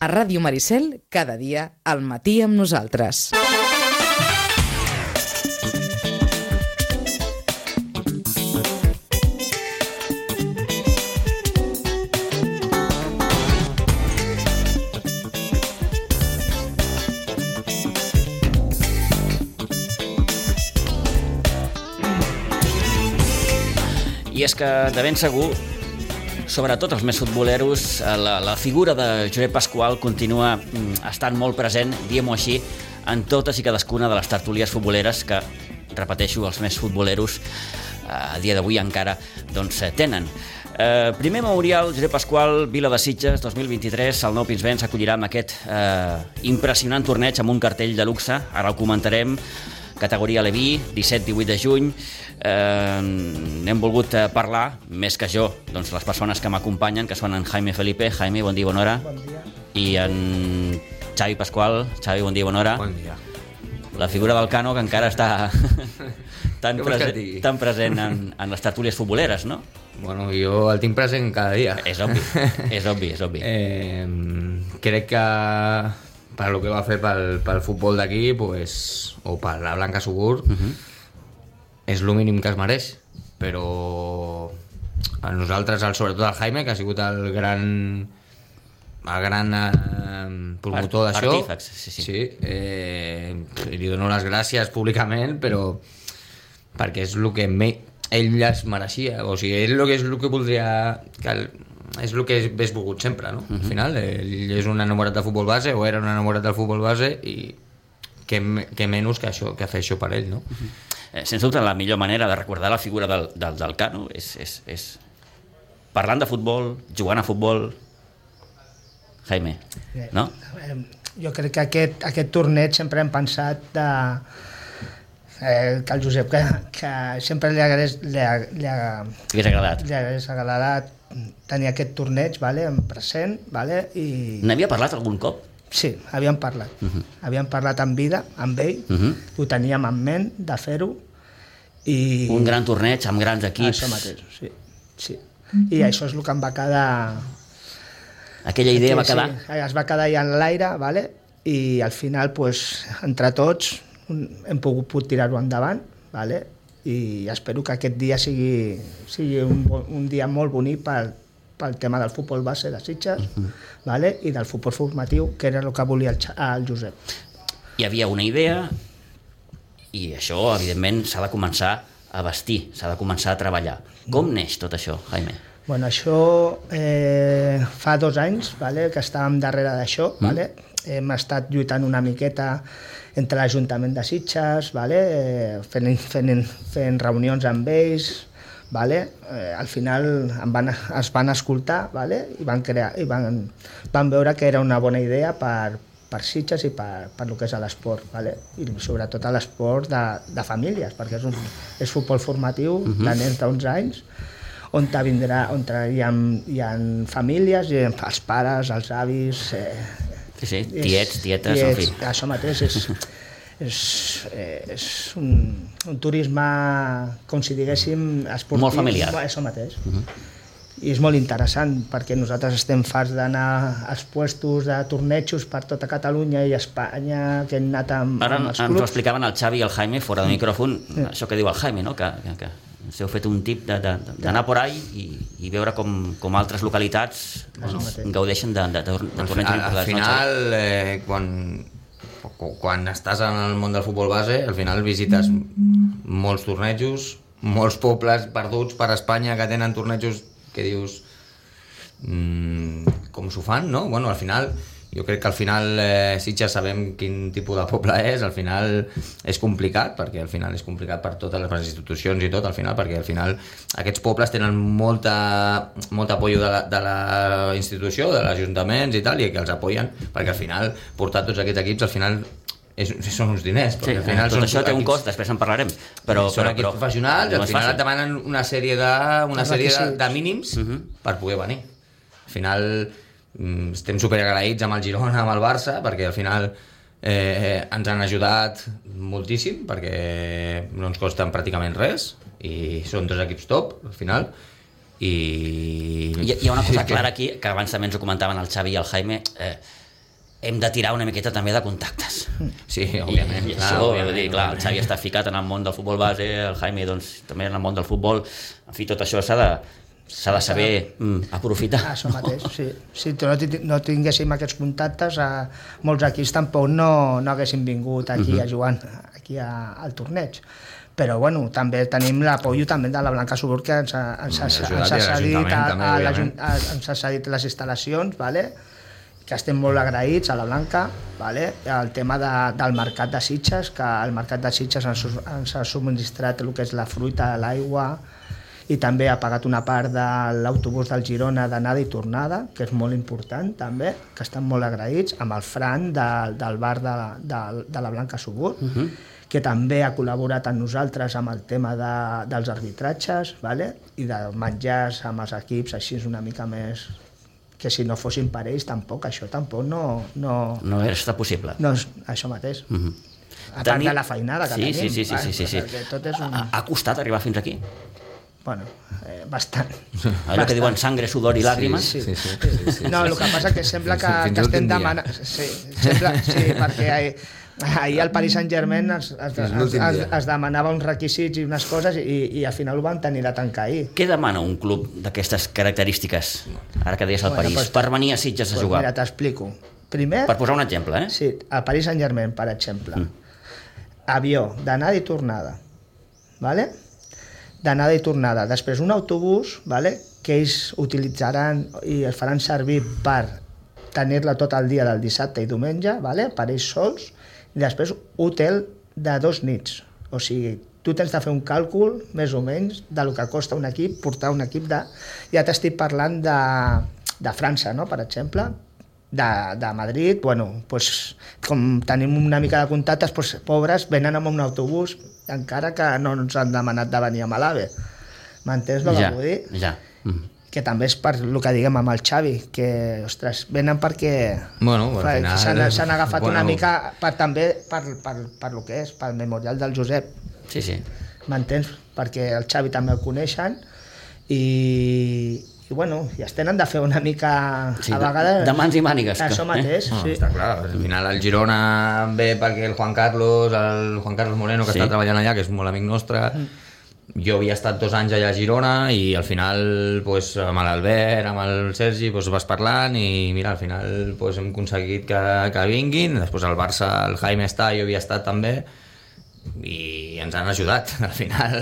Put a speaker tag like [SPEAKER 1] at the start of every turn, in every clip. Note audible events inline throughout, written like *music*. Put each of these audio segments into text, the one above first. [SPEAKER 1] a Ràdio Maricel cada dia al matí amb nosaltres.
[SPEAKER 2] I és que, de ben segur, sobretot els més futboleros, eh, la, la figura de Josep Pasqual continua mm, estant molt present, diem-ho així, en totes i cadascuna de les tertúlies futboleres que, repeteixo, els més futboleros eh, a dia d'avui encara doncs, eh, tenen. Eh, primer memorial, Josep Pasqual, Vila de Sitges, 2023, el nou Pinsbens s'acollirà amb aquest eh, impressionant torneig amb un cartell de luxe, ara ho comentarem, categoria Leví, 17-18 de juny. Eh, n'hem volgut eh, parlar, més que jo, doncs les persones que m'acompanyen, que són en Jaime Felipe. Jaime, bon dia, bona hora. Bon dia. I en Xavi Pasqual. Xavi, bon dia, bona hora.
[SPEAKER 3] Bon dia.
[SPEAKER 2] La figura del Cano, que encara està tan,
[SPEAKER 3] *laughs* Què vols que et
[SPEAKER 2] present,
[SPEAKER 3] digui?
[SPEAKER 2] tan present en, en les tertúlies futboleres, no?
[SPEAKER 3] Bueno, jo el tinc present cada dia.
[SPEAKER 2] És obvi, és obvi, és obvi.
[SPEAKER 3] Eh, crec que per lo que va fer pel, pel futbol d'aquí, pues, o per la Blanca Sugur, uh -huh. és el mínim que es mereix. Però a nosaltres, el, sobretot el Jaime, que ha sigut el gran el gran eh, promotor
[SPEAKER 2] Part-
[SPEAKER 3] d'això.
[SPEAKER 2] artífex, sí, sí.
[SPEAKER 3] sí eh, i li dono les gràcies públicament, però perquè és el que me, ell es mereixia, o sigui, és el que, és el que voldria... Que el, és el que és volgut sempre, no?
[SPEAKER 2] Mhm.
[SPEAKER 3] Al final, ell és un enamorat de futbol base, o era un enamorat del futbol base, i que, me- que menys que, això, que fer això per ell, no?
[SPEAKER 2] Eh, sens dubte, la millor manera de recordar la figura del, del, del Cano és, és, és parlant de futbol, jugant a futbol... Jaime,
[SPEAKER 4] Bé,
[SPEAKER 2] no?
[SPEAKER 4] eh, jo crec que aquest, aquest torneig sempre hem pensat de, eh, que el Josep que, que sempre li hagués, li, ha- li, ha-
[SPEAKER 2] T'hagués agradat.
[SPEAKER 4] li hagués agradat tenir aquest torneig vale, en present vale, i
[SPEAKER 2] N'havia parlat algun cop?
[SPEAKER 4] sí, havíem parlat uh -huh. havíem parlat en vida amb ell uh
[SPEAKER 2] Mhm.
[SPEAKER 4] -huh. ho teníem en ment de fer-ho i
[SPEAKER 2] Un gran torneig amb grans equips.
[SPEAKER 4] això mateix sí, sí. i això és el que em va quedar
[SPEAKER 2] Aquella idea va
[SPEAKER 4] Sí,
[SPEAKER 2] quedar...
[SPEAKER 4] Sí, es va quedar ja en l'aire, vale? i al final, pues, entre tots, un- hem pogut pot tirar-ho endavant, vale? i espero que aquest dia sigui, sigui un, bo- un dia molt bonic pel, pel tema del futbol base de Sitges
[SPEAKER 2] Mhm.
[SPEAKER 4] vale? i del futbol formatiu, que era el que volia el, Xa- el Josep.
[SPEAKER 2] Hi havia una idea i això, evidentment, s'ha de començar a vestir, s'ha de començar a treballar.
[SPEAKER 4] Mm.
[SPEAKER 2] Com neix tot això, Jaime?
[SPEAKER 4] Bueno, això eh, fa dos anys vale, que estàvem darrere d'això. Mm. Vale? Hem estat lluitant una miqueta entre l'Ajuntament de Sitges, vale? eh, fent, fent, fent reunions amb ells, vale? eh, al final em van, es van escoltar vale? i, van, crear, i van, van veure que era una bona idea per, per Sitges i per, per lo que és a l'esport, vale? i sobretot a l'esport de, de famílies, perquè és, un, és futbol formatiu de nens d'11 anys, on te vindrà, on te- hi, ha, hi ha famílies, hi ha els pares, els avis... Eh,
[SPEAKER 2] Sí, sí,
[SPEAKER 4] és-
[SPEAKER 2] tiets, tietes, en fi.
[SPEAKER 4] Això mateix és,
[SPEAKER 2] *laughs*
[SPEAKER 4] és, eh, és un, un turisme, com si diguéssim, esportiu.
[SPEAKER 2] Molt familiar. Mhm.
[SPEAKER 4] Això mateix. Uh -huh. I és molt interessant, perquè nosaltres estem farts d'anar als puestos de tornejos per tota Catalunya i Espanya, que hem anat amb,
[SPEAKER 2] Ara
[SPEAKER 4] Mm, amb
[SPEAKER 2] ens
[SPEAKER 4] els
[SPEAKER 2] ho
[SPEAKER 4] clubs.
[SPEAKER 2] explicaven el Xavi i el Jaime fora de micròfon, això que diu el Jaime, no? que, que, que s'heu fet un tip de- de- d'anar por ahí i, i veure com, com altres localitats bueno,
[SPEAKER 4] mateix.
[SPEAKER 2] gaudeixen de, de, de, de
[SPEAKER 3] Al
[SPEAKER 2] torneig
[SPEAKER 3] final, Doncs al
[SPEAKER 2] importants, no, Xavi?
[SPEAKER 3] final eh, quan, cu- quan estàs en el món del futbol base, al final visites molts tornejos, molts pobles perduts per Espanya que tenen tornejos que dius mm, com s'ho fan, no? Bueno, al final jo crec que al final eh, sí ja sabem quin tipus de poble és, al final és complicat, perquè al final és complicat per totes les institucions i tot, al final, perquè al final aquests pobles tenen molta, molt apoyo de la, de la institució, de l'Ajuntament i tal, i que els apoyen, perquè al final portar tots aquests equips, al final és, són uns diners,
[SPEAKER 2] Sí, eh,
[SPEAKER 3] perquè al final
[SPEAKER 2] tot
[SPEAKER 3] són
[SPEAKER 2] això té un
[SPEAKER 3] equips-
[SPEAKER 2] cost, després en parlarem. Però,
[SPEAKER 3] són
[SPEAKER 2] però,
[SPEAKER 3] equips
[SPEAKER 2] però,
[SPEAKER 3] professionals i
[SPEAKER 2] no
[SPEAKER 3] al
[SPEAKER 2] és
[SPEAKER 3] final et
[SPEAKER 2] fàcil.
[SPEAKER 3] demanen una sèrie de, una
[SPEAKER 4] Els
[SPEAKER 3] sèrie de,
[SPEAKER 4] requisits.
[SPEAKER 3] de mínims
[SPEAKER 2] Mhm.
[SPEAKER 3] uh -huh. per poder venir. Al final mm, estem super agraïts amb el Girona, amb el Barça, perquè al final eh, ens han ajudat moltíssim, perquè no ens costen pràcticament res, i són dos equips top, al final, i... *laughs*
[SPEAKER 2] Hi, hi ha una cosa clara aquí, que abans també ens ho comentaven el Xavi i el Jaime, eh, hem de tirar una miqueta també de contactes.
[SPEAKER 4] Mm.
[SPEAKER 3] Sí, òbviament.
[SPEAKER 2] I, i
[SPEAKER 3] clar,
[SPEAKER 2] això,
[SPEAKER 3] òbviament.
[SPEAKER 2] vull dir, clar, el Xavi està ficat en el món del futbol base, el Jaime doncs, també en el món del futbol, en fi, tot això s'ha de, s'ha de saber mm, aprofitar.
[SPEAKER 4] Ah, Això mateix, sí. Si no, ti- no tinguéssim aquests contactes, a molts equips tampoc no, no haguessin vingut
[SPEAKER 3] Mhm.
[SPEAKER 4] aquí a jugar aquí a, al torneig. Però bueno, també tenim l'apoyo també de la Blanca Subur que ens ha, ens ha,
[SPEAKER 3] Mm, ajudat
[SPEAKER 4] ens ha
[SPEAKER 3] i
[SPEAKER 4] cedit,
[SPEAKER 3] l'Ajuntament
[SPEAKER 4] a,
[SPEAKER 3] també,
[SPEAKER 4] a,
[SPEAKER 3] òbviament.
[SPEAKER 4] l'Ajun- a, ens ha cedit les instal·lacions, vale? que estem molt agraïts a la Blanca, vale? el tema de, del mercat de Sitges, que el mercat de Sitges ens, su- ens ha subministrat el que és la fruita, l'aigua, i també ha pagat una part de l'autobús del Girona d'anada i tornada, que és molt important també, que estan molt agraïts, amb el Fran de, del bar de, de, de la Blanca Subur, uh -huh que també ha col·laborat amb nosaltres amb el tema de, dels arbitratges vale? i de menjars amb els equips així una mica més que si no fossin per ells tampoc, això tampoc no... no,
[SPEAKER 2] No està possible. Mm-hmm.
[SPEAKER 4] no és això mateix. Mm -hmm. A part
[SPEAKER 2] Tenir-
[SPEAKER 4] de la feinada que
[SPEAKER 2] sí,
[SPEAKER 4] tenim.
[SPEAKER 2] sí, sí, sí,
[SPEAKER 4] va,
[SPEAKER 2] sí, sí, sí.
[SPEAKER 4] perquè Tot és un...
[SPEAKER 2] Ha, ha costat arribar fins aquí.
[SPEAKER 4] Bueno, eh, bastant.
[SPEAKER 2] Allò que diuen sangre, sudor i làgrimes.
[SPEAKER 3] Sí, sí, sí, sí, sí,
[SPEAKER 4] No, el que passa que sembla que,
[SPEAKER 3] Fins- fins
[SPEAKER 4] que estem
[SPEAKER 3] l'últim dia.
[SPEAKER 4] demanant... Sí, sembla, sí, perquè ahir, ahir al Paris Saint-Germain es, es,
[SPEAKER 3] Fins
[SPEAKER 4] es,
[SPEAKER 3] l'últim
[SPEAKER 4] es,
[SPEAKER 3] dia.
[SPEAKER 4] es demanava uns requisits i unes coses i, i al final ho van tenir de tancar ahir.
[SPEAKER 2] Què demana un club d'aquestes característiques, ara que deies al
[SPEAKER 4] Bueno,
[SPEAKER 2] París,
[SPEAKER 4] pues-
[SPEAKER 2] per venir a Sitges a
[SPEAKER 4] Doncs
[SPEAKER 2] jugar?
[SPEAKER 4] mira, t'explico. Primer,
[SPEAKER 2] Per posar un exemple, eh?
[SPEAKER 4] Sí, al Paris Saint-Germain, per exemple. Mm. Avió, d'anada i tornada. Vale? D'anada i tornada. Després un autobús vale? que ells utilitzaran i el faran servir per tenir-la tot el dia del dissabte i diumenge, vale? per ells sols, i després hotel de dos nits. O sigui, tu tens de fer un càlcul, més o menys, del que costa un equip, portar un equip de... Ja t'estic parlant de, de França, no?, per exemple, de, de Madrid, bueno, pues, com tenim una mica de contactes, pues, pobres venen amb un autobús, encara que no ens han demanat de venir amb l'AVE. M'entens el
[SPEAKER 2] ja,
[SPEAKER 4] que vull dir?
[SPEAKER 2] ja. Mm.
[SPEAKER 4] Que també és per el que diguem amb el Xavi, que, ostres, venen perquè...
[SPEAKER 3] Bueno, al
[SPEAKER 4] clar,
[SPEAKER 3] final-
[SPEAKER 4] s'han- S'han agafat
[SPEAKER 3] bueno.
[SPEAKER 4] una mica per, també per, per, per lo que és, pel memorial del Josep,
[SPEAKER 2] Sí, sí.
[SPEAKER 4] m'entens? Perquè el Xavi també el coneixen i, i bueno, i es tenen de fer una mica...
[SPEAKER 2] sí
[SPEAKER 4] a
[SPEAKER 2] de-
[SPEAKER 4] vegades...
[SPEAKER 2] De mans i mànigues. que- eh? Ah.
[SPEAKER 4] Això mateix,
[SPEAKER 3] No,
[SPEAKER 4] sí.
[SPEAKER 3] Ah, està clar, al final el Girona ve perquè el Juan Carlos, el Juan Carlos Moreno que
[SPEAKER 2] Sí.
[SPEAKER 3] sí. està treballant allà, que és molt amic nostre jo havia estat dos anys allà a Girona i al final pues, amb l'Albert, amb el Sergi pues, vas parlant i mira, al final pues, hem aconseguit que, que vinguin després el Barça, el Jaime està, jo havia estat també i ens han ajudat *laughs* al final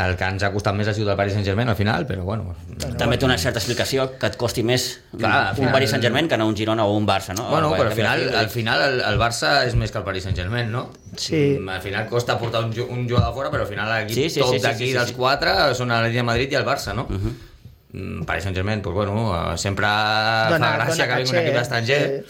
[SPEAKER 3] el que ens ha costat més ha sigut el Paris Saint-Germain al final, però bueno,
[SPEAKER 2] També té una certa explicació que et costi més
[SPEAKER 3] Clar, al
[SPEAKER 2] un
[SPEAKER 3] final-
[SPEAKER 2] Paris Saint-Germain que no un Girona o un Barça, no?
[SPEAKER 3] Bueno,
[SPEAKER 2] Ara,
[SPEAKER 3] però al
[SPEAKER 2] també
[SPEAKER 3] final,
[SPEAKER 2] aquí-
[SPEAKER 3] al final el, el Barça és més que el Paris Saint-Germain, no?
[SPEAKER 4] Sí.
[SPEAKER 3] Mm, Al final costa portar un, ju- un jugador de fora, però al final l'equip
[SPEAKER 2] Sí,
[SPEAKER 3] sí,
[SPEAKER 2] sí,
[SPEAKER 3] top
[SPEAKER 2] sí,
[SPEAKER 3] sí,
[SPEAKER 2] sí,
[SPEAKER 3] d'aquí
[SPEAKER 2] sí, sí,
[SPEAKER 3] dels
[SPEAKER 2] sí. Mhm.
[SPEAKER 3] quatre són el Real Madrid i el Barça, no? Uh -huh. Paris Saint-Germain, doncs bueno, eh, sempre
[SPEAKER 4] Dona-
[SPEAKER 3] fa gràcia
[SPEAKER 4] dona
[SPEAKER 3] que vingui
[SPEAKER 4] caché,
[SPEAKER 3] un equip d'estranger,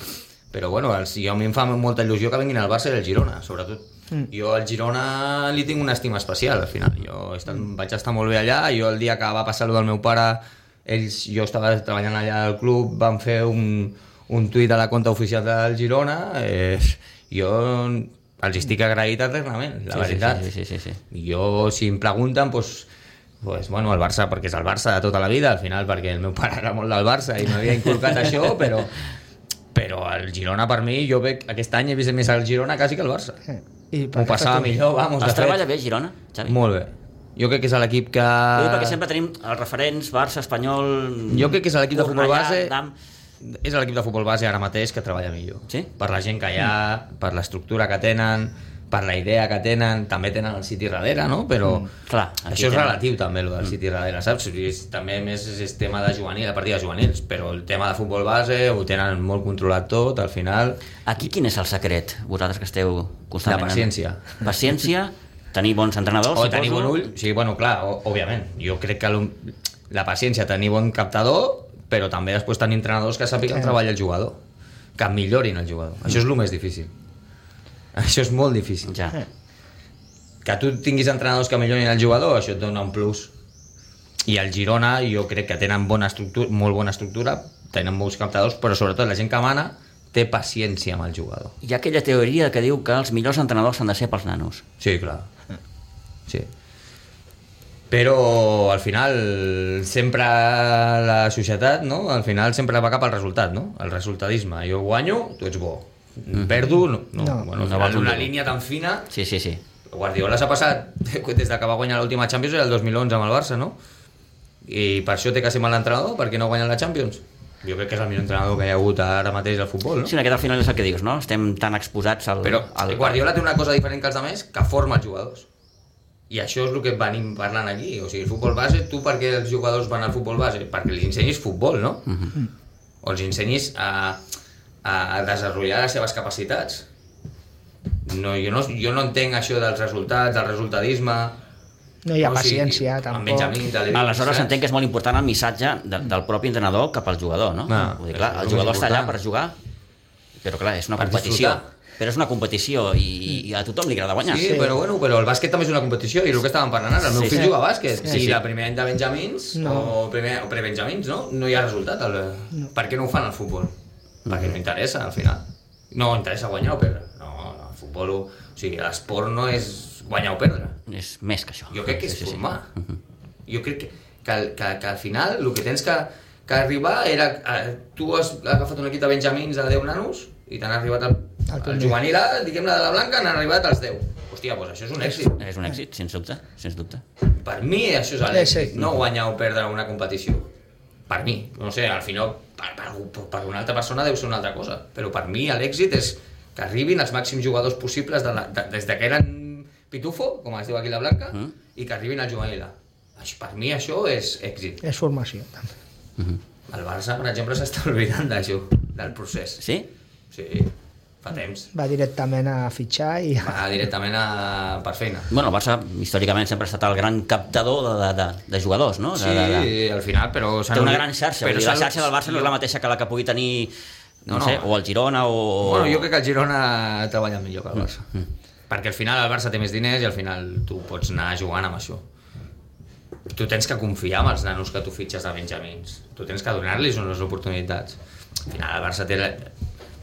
[SPEAKER 3] però bueno, els, jo a mi em fa molta il·lusió que vinguin al Barça i al Girona, sobretot. Mm. Jo al Girona li tinc una estima especial, al final. Jo he estat,
[SPEAKER 2] Mm.
[SPEAKER 3] vaig estar molt bé allà, jo el dia que va passar el del meu pare, ells, jo estava treballant allà al club, van fer un, un tuit a la compta oficial del Girona, eh, jo els estic agraït eternament, la
[SPEAKER 2] Sí, sí,
[SPEAKER 3] veritat. Doncs,
[SPEAKER 2] Sí, sí, sí, sí.
[SPEAKER 3] Jo, si em pregunten, doncs, doncs, bueno, el Barça, perquè és el Barça de tota la vida, al final, perquè el meu pare era molt del Barça i m'havia inculcat
[SPEAKER 2] *laughs*
[SPEAKER 3] això, però, però el Girona, per mi, jo veig, aquest any he vist més el Girona quasi que el Barça.
[SPEAKER 4] I
[SPEAKER 3] M'ho passava millor, vamos,
[SPEAKER 2] Es treballa bé a Girona, Xavi?
[SPEAKER 3] Molt bé. Jo crec que és l'equip que...
[SPEAKER 2] Ho dic perquè sempre tenim els referents, Barça, Espanyol...
[SPEAKER 3] Ah. Jo crec que és l'equip de futbol
[SPEAKER 2] Cornellà,
[SPEAKER 3] base...
[SPEAKER 2] Dam.
[SPEAKER 3] És l'equip de futbol base ara mateix que treballa millor.
[SPEAKER 2] Sí?
[SPEAKER 3] Per la gent que hi ha, per l'estructura que tenen, per la idea que tenen, també tenen el City darrere, no? Però...
[SPEAKER 2] Clar, aquí
[SPEAKER 3] Això és
[SPEAKER 2] tenen-
[SPEAKER 3] relatiu també, el del City darrere, saps? És, també més és tema de juvenil, de partides juvenils, però el tema de futbol base ho tenen molt controlat tot, al final...
[SPEAKER 2] Aquí quin és el secret, vosaltres que esteu constantment...
[SPEAKER 3] La paciència.
[SPEAKER 2] En... Paciència, tenir bons entrenadors,
[SPEAKER 3] O
[SPEAKER 2] suposo.
[SPEAKER 3] tenir bon ull, sí, bueno, clar, o, òbviament. Jo crec que lo- la paciència, tenir bon captador, però també després tenir entrenadors que sàpiguen
[SPEAKER 4] Sí.
[SPEAKER 3] treballar el jugador, que millorin el jugador. Això és el més difícil. Això és molt difícil.
[SPEAKER 2] Ja.
[SPEAKER 3] Que tu tinguis entrenadors que millorin el jugador, això et dona un plus. I el Girona jo crec que tenen bona estructura, molt bona estructura, tenen molts captadors, però sobretot la gent que mana té paciència amb el jugador.
[SPEAKER 2] Hi ha aquella teoria que diu que els millors entrenadors han de ser pels nanos.
[SPEAKER 3] Sí, clar. Sí. però al final sempre la societat no? al final sempre va cap al resultat no? el resultadisme, jo guanyo, tu ets bo perdo, no, no.
[SPEAKER 4] No.
[SPEAKER 3] Bueno,
[SPEAKER 2] Mm. No
[SPEAKER 3] al
[SPEAKER 2] vals
[SPEAKER 3] final,
[SPEAKER 2] un
[SPEAKER 3] una
[SPEAKER 2] duro.
[SPEAKER 3] línia tan fina
[SPEAKER 2] Sí, sí, sí.
[SPEAKER 3] Guardiola s'ha passat *laughs* des de que va guanyar l'última Champions era el 2011 amb el Barça, no? I per això té que ser mal entrenador, perquè no guanyen la Champions. Jo crec que és el millor entrenador que hi ha hagut ara mateix al futbol,
[SPEAKER 2] Sí,
[SPEAKER 3] no?
[SPEAKER 2] en aquest al final és el que dius, no? Estem tan exposats al...
[SPEAKER 3] Però
[SPEAKER 2] al...
[SPEAKER 3] el Guardiola té una cosa diferent que els altres, que forma els jugadors. I això és el que venim parlant aquí. O sigui, el futbol base, tu per què els jugadors van al futbol base? Perquè li ensenyis futbol, no? O els ensenyis a, a desenvolupar les seves capacitats. No, jo, no, jo no entenc això dels resultats, del resultadisme,
[SPEAKER 4] No hi ha
[SPEAKER 3] O sigui,
[SPEAKER 4] paciència,
[SPEAKER 3] Amb
[SPEAKER 4] tampoc.
[SPEAKER 3] Benjamí, Dalí,
[SPEAKER 2] Aleshores
[SPEAKER 3] saps?
[SPEAKER 2] entenc que és molt important el missatge de, del propi entrenador cap al jugador, no?
[SPEAKER 3] Ah,
[SPEAKER 2] Vull dir, clar,
[SPEAKER 3] és
[SPEAKER 2] el
[SPEAKER 3] molt
[SPEAKER 2] jugador està allà
[SPEAKER 3] important.
[SPEAKER 2] per jugar, però clar, és una
[SPEAKER 3] Per
[SPEAKER 2] competició.
[SPEAKER 3] disfrutar.
[SPEAKER 2] Però és una competició i, i a tothom li agrada guanyar.
[SPEAKER 3] Sí, sí, però bueno, però el bàsquet també és una competició i el que estàvem parlant ara, el meu
[SPEAKER 2] Sí,
[SPEAKER 3] fill
[SPEAKER 2] sí.
[SPEAKER 3] juga a bàsquet
[SPEAKER 2] Sí,
[SPEAKER 3] i
[SPEAKER 2] sí.
[SPEAKER 3] la primera any de Benjamins
[SPEAKER 4] No.
[SPEAKER 3] o, primer, o prebenjamins, no? No hi ha resultat. El, Per què no ho fan al futbol? Perquè no
[SPEAKER 2] Mm.
[SPEAKER 3] interessa, al final. No interessa guanyar o perdre. No, no, el futbol, o sigui, l'esport no és guanyar o perdre.
[SPEAKER 2] És més que això.
[SPEAKER 3] Jo crec que és
[SPEAKER 2] Sí, sí, sí.
[SPEAKER 3] formar. Jo crec que, que, al- que, que al final el que tens que, que arribar era... eh, tu has agafat un equip de benjamins de 10 nanos i t'han arribat al,
[SPEAKER 4] Al
[SPEAKER 3] al,
[SPEAKER 4] primer.
[SPEAKER 3] juvenil, A, diguem-ne, de la blanca, n'han arribat als 10. Hòstia, doncs això és un èxit.
[SPEAKER 2] És un èxit, sens dubte, sens dubte.
[SPEAKER 3] Per mi això és
[SPEAKER 4] Èxit.
[SPEAKER 3] l'èxit, no guanyar o perdre una competició. Per mi. No sé, al final, per, per, algú- per una altra persona deu ser una altra cosa. Però per mi l'èxit és que arribin els màxims jugadors possibles de la, de, des de que eren pitufo, com es diu aquí la Blanca,
[SPEAKER 2] Ah.
[SPEAKER 3] mm. i que arribin al juvenil A. Això, per mi això és èxit.
[SPEAKER 4] És formació, també.
[SPEAKER 3] El Barça, per exemple, s'està *laughs* oblidant d'això, del procés.
[SPEAKER 2] Sí?
[SPEAKER 3] Sí, fa temps.
[SPEAKER 4] Va directament a fitxar i...
[SPEAKER 3] Va directament a, per feina.
[SPEAKER 2] Bueno, el Barça històricament sempre ha estat el gran captador de, de, de, de jugadors, no? De,
[SPEAKER 3] Sí,
[SPEAKER 2] de, de...
[SPEAKER 3] al final, però... s'han
[SPEAKER 2] Té una
[SPEAKER 3] obli-
[SPEAKER 2] gran xarxa,
[SPEAKER 3] però
[SPEAKER 2] però la
[SPEAKER 3] s'han-
[SPEAKER 2] xarxa del Barça no és la mateixa que la que pugui tenir no,
[SPEAKER 3] No, no.
[SPEAKER 2] sé, o el Girona o...
[SPEAKER 3] Bueno, jo crec que el Girona treballa millor que el Barça. Perquè al final el Barça té més diners i al final tu pots anar jugant amb això. Tu tens que confiar en els nanos que tu fitxes de Benjamins. Tu tens que donar-los unes oportunitats. Al final el Barça té... La...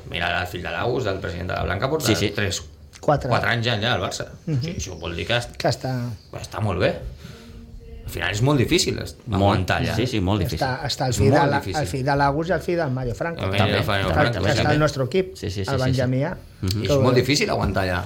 [SPEAKER 3] Mira, el fill de l'Agus, del president de la Blanca, porta
[SPEAKER 2] Sí,
[SPEAKER 3] sí,
[SPEAKER 2] sí.
[SPEAKER 3] sí. 3,
[SPEAKER 4] Quatre.
[SPEAKER 3] 4 anys ja allà al Barça. Uh -huh. o sigui, això vol dir que est-
[SPEAKER 4] Que està,
[SPEAKER 3] està molt bé. Al final és molt difícil est-
[SPEAKER 2] Molt,
[SPEAKER 3] aguantar allà.
[SPEAKER 2] sí, sí, molt difícil.
[SPEAKER 4] està, està el,
[SPEAKER 3] És
[SPEAKER 4] fill de
[SPEAKER 3] molt
[SPEAKER 4] la,
[SPEAKER 3] difícil.
[SPEAKER 4] el fill de l'Agus i el fill del Mario Franco.
[SPEAKER 3] També,
[SPEAKER 2] També,
[SPEAKER 3] el Mario
[SPEAKER 2] també,
[SPEAKER 3] Franco,
[SPEAKER 4] que
[SPEAKER 2] també.
[SPEAKER 4] està el nostre equip,
[SPEAKER 2] Sí, sí, sí,
[SPEAKER 4] el
[SPEAKER 2] sí,
[SPEAKER 4] Benjamí.
[SPEAKER 3] sí.
[SPEAKER 4] que-
[SPEAKER 3] Mhm. És molt difícil aguantar allà.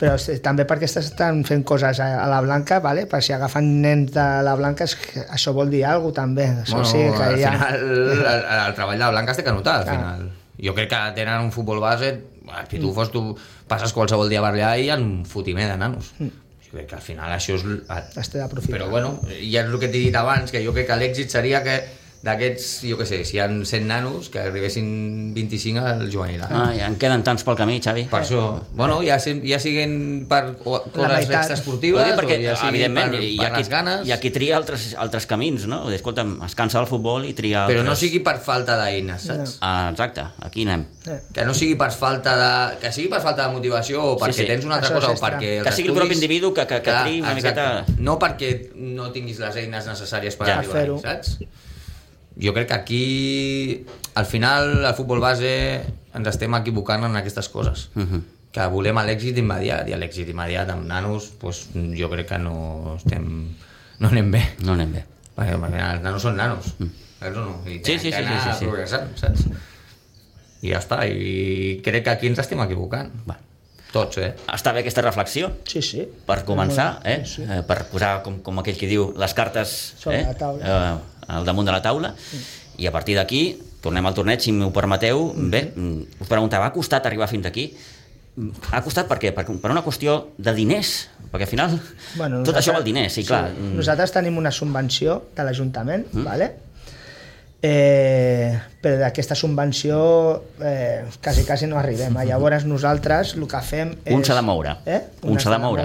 [SPEAKER 4] Però sí, també perquè estan fent coses a, a la Blanca, vale? per si agafen nens de la Blanca, és que això vol dir alguna cosa, també. Això
[SPEAKER 3] Bueno,
[SPEAKER 4] sí, que
[SPEAKER 3] al
[SPEAKER 4] hi ha... *laughs*
[SPEAKER 3] final el, el treball de la Blanca es té que notar, al
[SPEAKER 4] Clar.
[SPEAKER 3] final. Jo crec que tenen un futbol base, els pitufos, tu passes qualsevol dia per allà i hi ha un fotimer de nanos. Jo crec que al final això és... l-
[SPEAKER 4] Es té d'aprofitar.
[SPEAKER 3] Però bueno, ja és el que t'he dit abans, que jo crec que l'èxit seria que d'aquests, jo què sé, si hi ha 100 nanos, que arribessin 25 al juvenil. A.
[SPEAKER 2] Ai, en queden tants pel camí, Xavi.
[SPEAKER 3] Per això, bueno, ja, se- ja siguen per o- coses
[SPEAKER 4] meitat.
[SPEAKER 2] Ho
[SPEAKER 3] extraesportives,
[SPEAKER 2] dic perquè,
[SPEAKER 3] o ja siguin eh, per,
[SPEAKER 2] evidentment, hi,
[SPEAKER 3] per
[SPEAKER 2] ha qui,
[SPEAKER 3] les ganes...
[SPEAKER 2] hi ha qui tria altres, altres camins, no? Vull dir, Escolta'm, es cansa del futbol i tria altres...
[SPEAKER 3] Però no sigui per falta d'eines, saps?
[SPEAKER 2] Ah, exacte, aquí anem.
[SPEAKER 4] Eh.
[SPEAKER 3] que no sigui per falta de... que sigui per falta de motivació o perquè
[SPEAKER 2] sí.
[SPEAKER 3] sí, sí. tens una altra
[SPEAKER 4] Això és
[SPEAKER 3] cosa o
[SPEAKER 4] extra.
[SPEAKER 3] perquè... els
[SPEAKER 2] Que sigui el propi individu que- que- que
[SPEAKER 3] Clar,
[SPEAKER 2] triï una
[SPEAKER 3] exacte.
[SPEAKER 2] miqueta-
[SPEAKER 3] No perquè no tinguis les eines necessàries per
[SPEAKER 2] Ja.
[SPEAKER 3] ja, arribar,
[SPEAKER 4] Fer-ho.
[SPEAKER 3] saps? Jo crec que aquí, al final, el futbol base ens estem equivocant en aquestes coses. Uh
[SPEAKER 2] Mhm.
[SPEAKER 3] -huh. Que volem l'èxit immediat, i l'èxit immediat amb nanos, doncs, jo crec que no estem... no anem bé.
[SPEAKER 2] No anem bé.
[SPEAKER 3] Perquè al final, els nanos són nanos. Saps o no? I
[SPEAKER 2] Mm. Sí, sí, sí,
[SPEAKER 3] tenen que anar
[SPEAKER 2] sí, sí, sí.
[SPEAKER 3] progressant, saps? I ja està, i crec que aquí ens estem equivocant.
[SPEAKER 2] Va.
[SPEAKER 3] Tots, eh?
[SPEAKER 2] Està bé aquesta reflexió,
[SPEAKER 4] Sí, sí.
[SPEAKER 2] per començar, eh? Eh, per posar, com, com aquell que diu, les cartes
[SPEAKER 4] Sobre
[SPEAKER 2] eh?
[SPEAKER 4] la taula.
[SPEAKER 2] Eh, al damunt de la taula, i a partir d'aquí tornem al torneig, si m'ho permeteu.
[SPEAKER 4] Mm-hmm.
[SPEAKER 2] Bé, mm, us preguntava, ha costat arribar fins aquí? Mm, Ha costat per què? Per, per una qüestió de diners, perquè al final bueno, tot
[SPEAKER 4] nosaltres-
[SPEAKER 2] això val diners, sí, clar.
[SPEAKER 4] Sí.
[SPEAKER 2] Mm,
[SPEAKER 4] Nosaltres tenim una subvenció de l'Ajuntament, mm. vale? eh, però d'aquesta subvenció eh, quasi, quasi no arribem. Eh? Llavors nosaltres el que fem és...
[SPEAKER 2] Un s'ha de moure.
[SPEAKER 4] Eh?
[SPEAKER 2] Un s'ha de moure.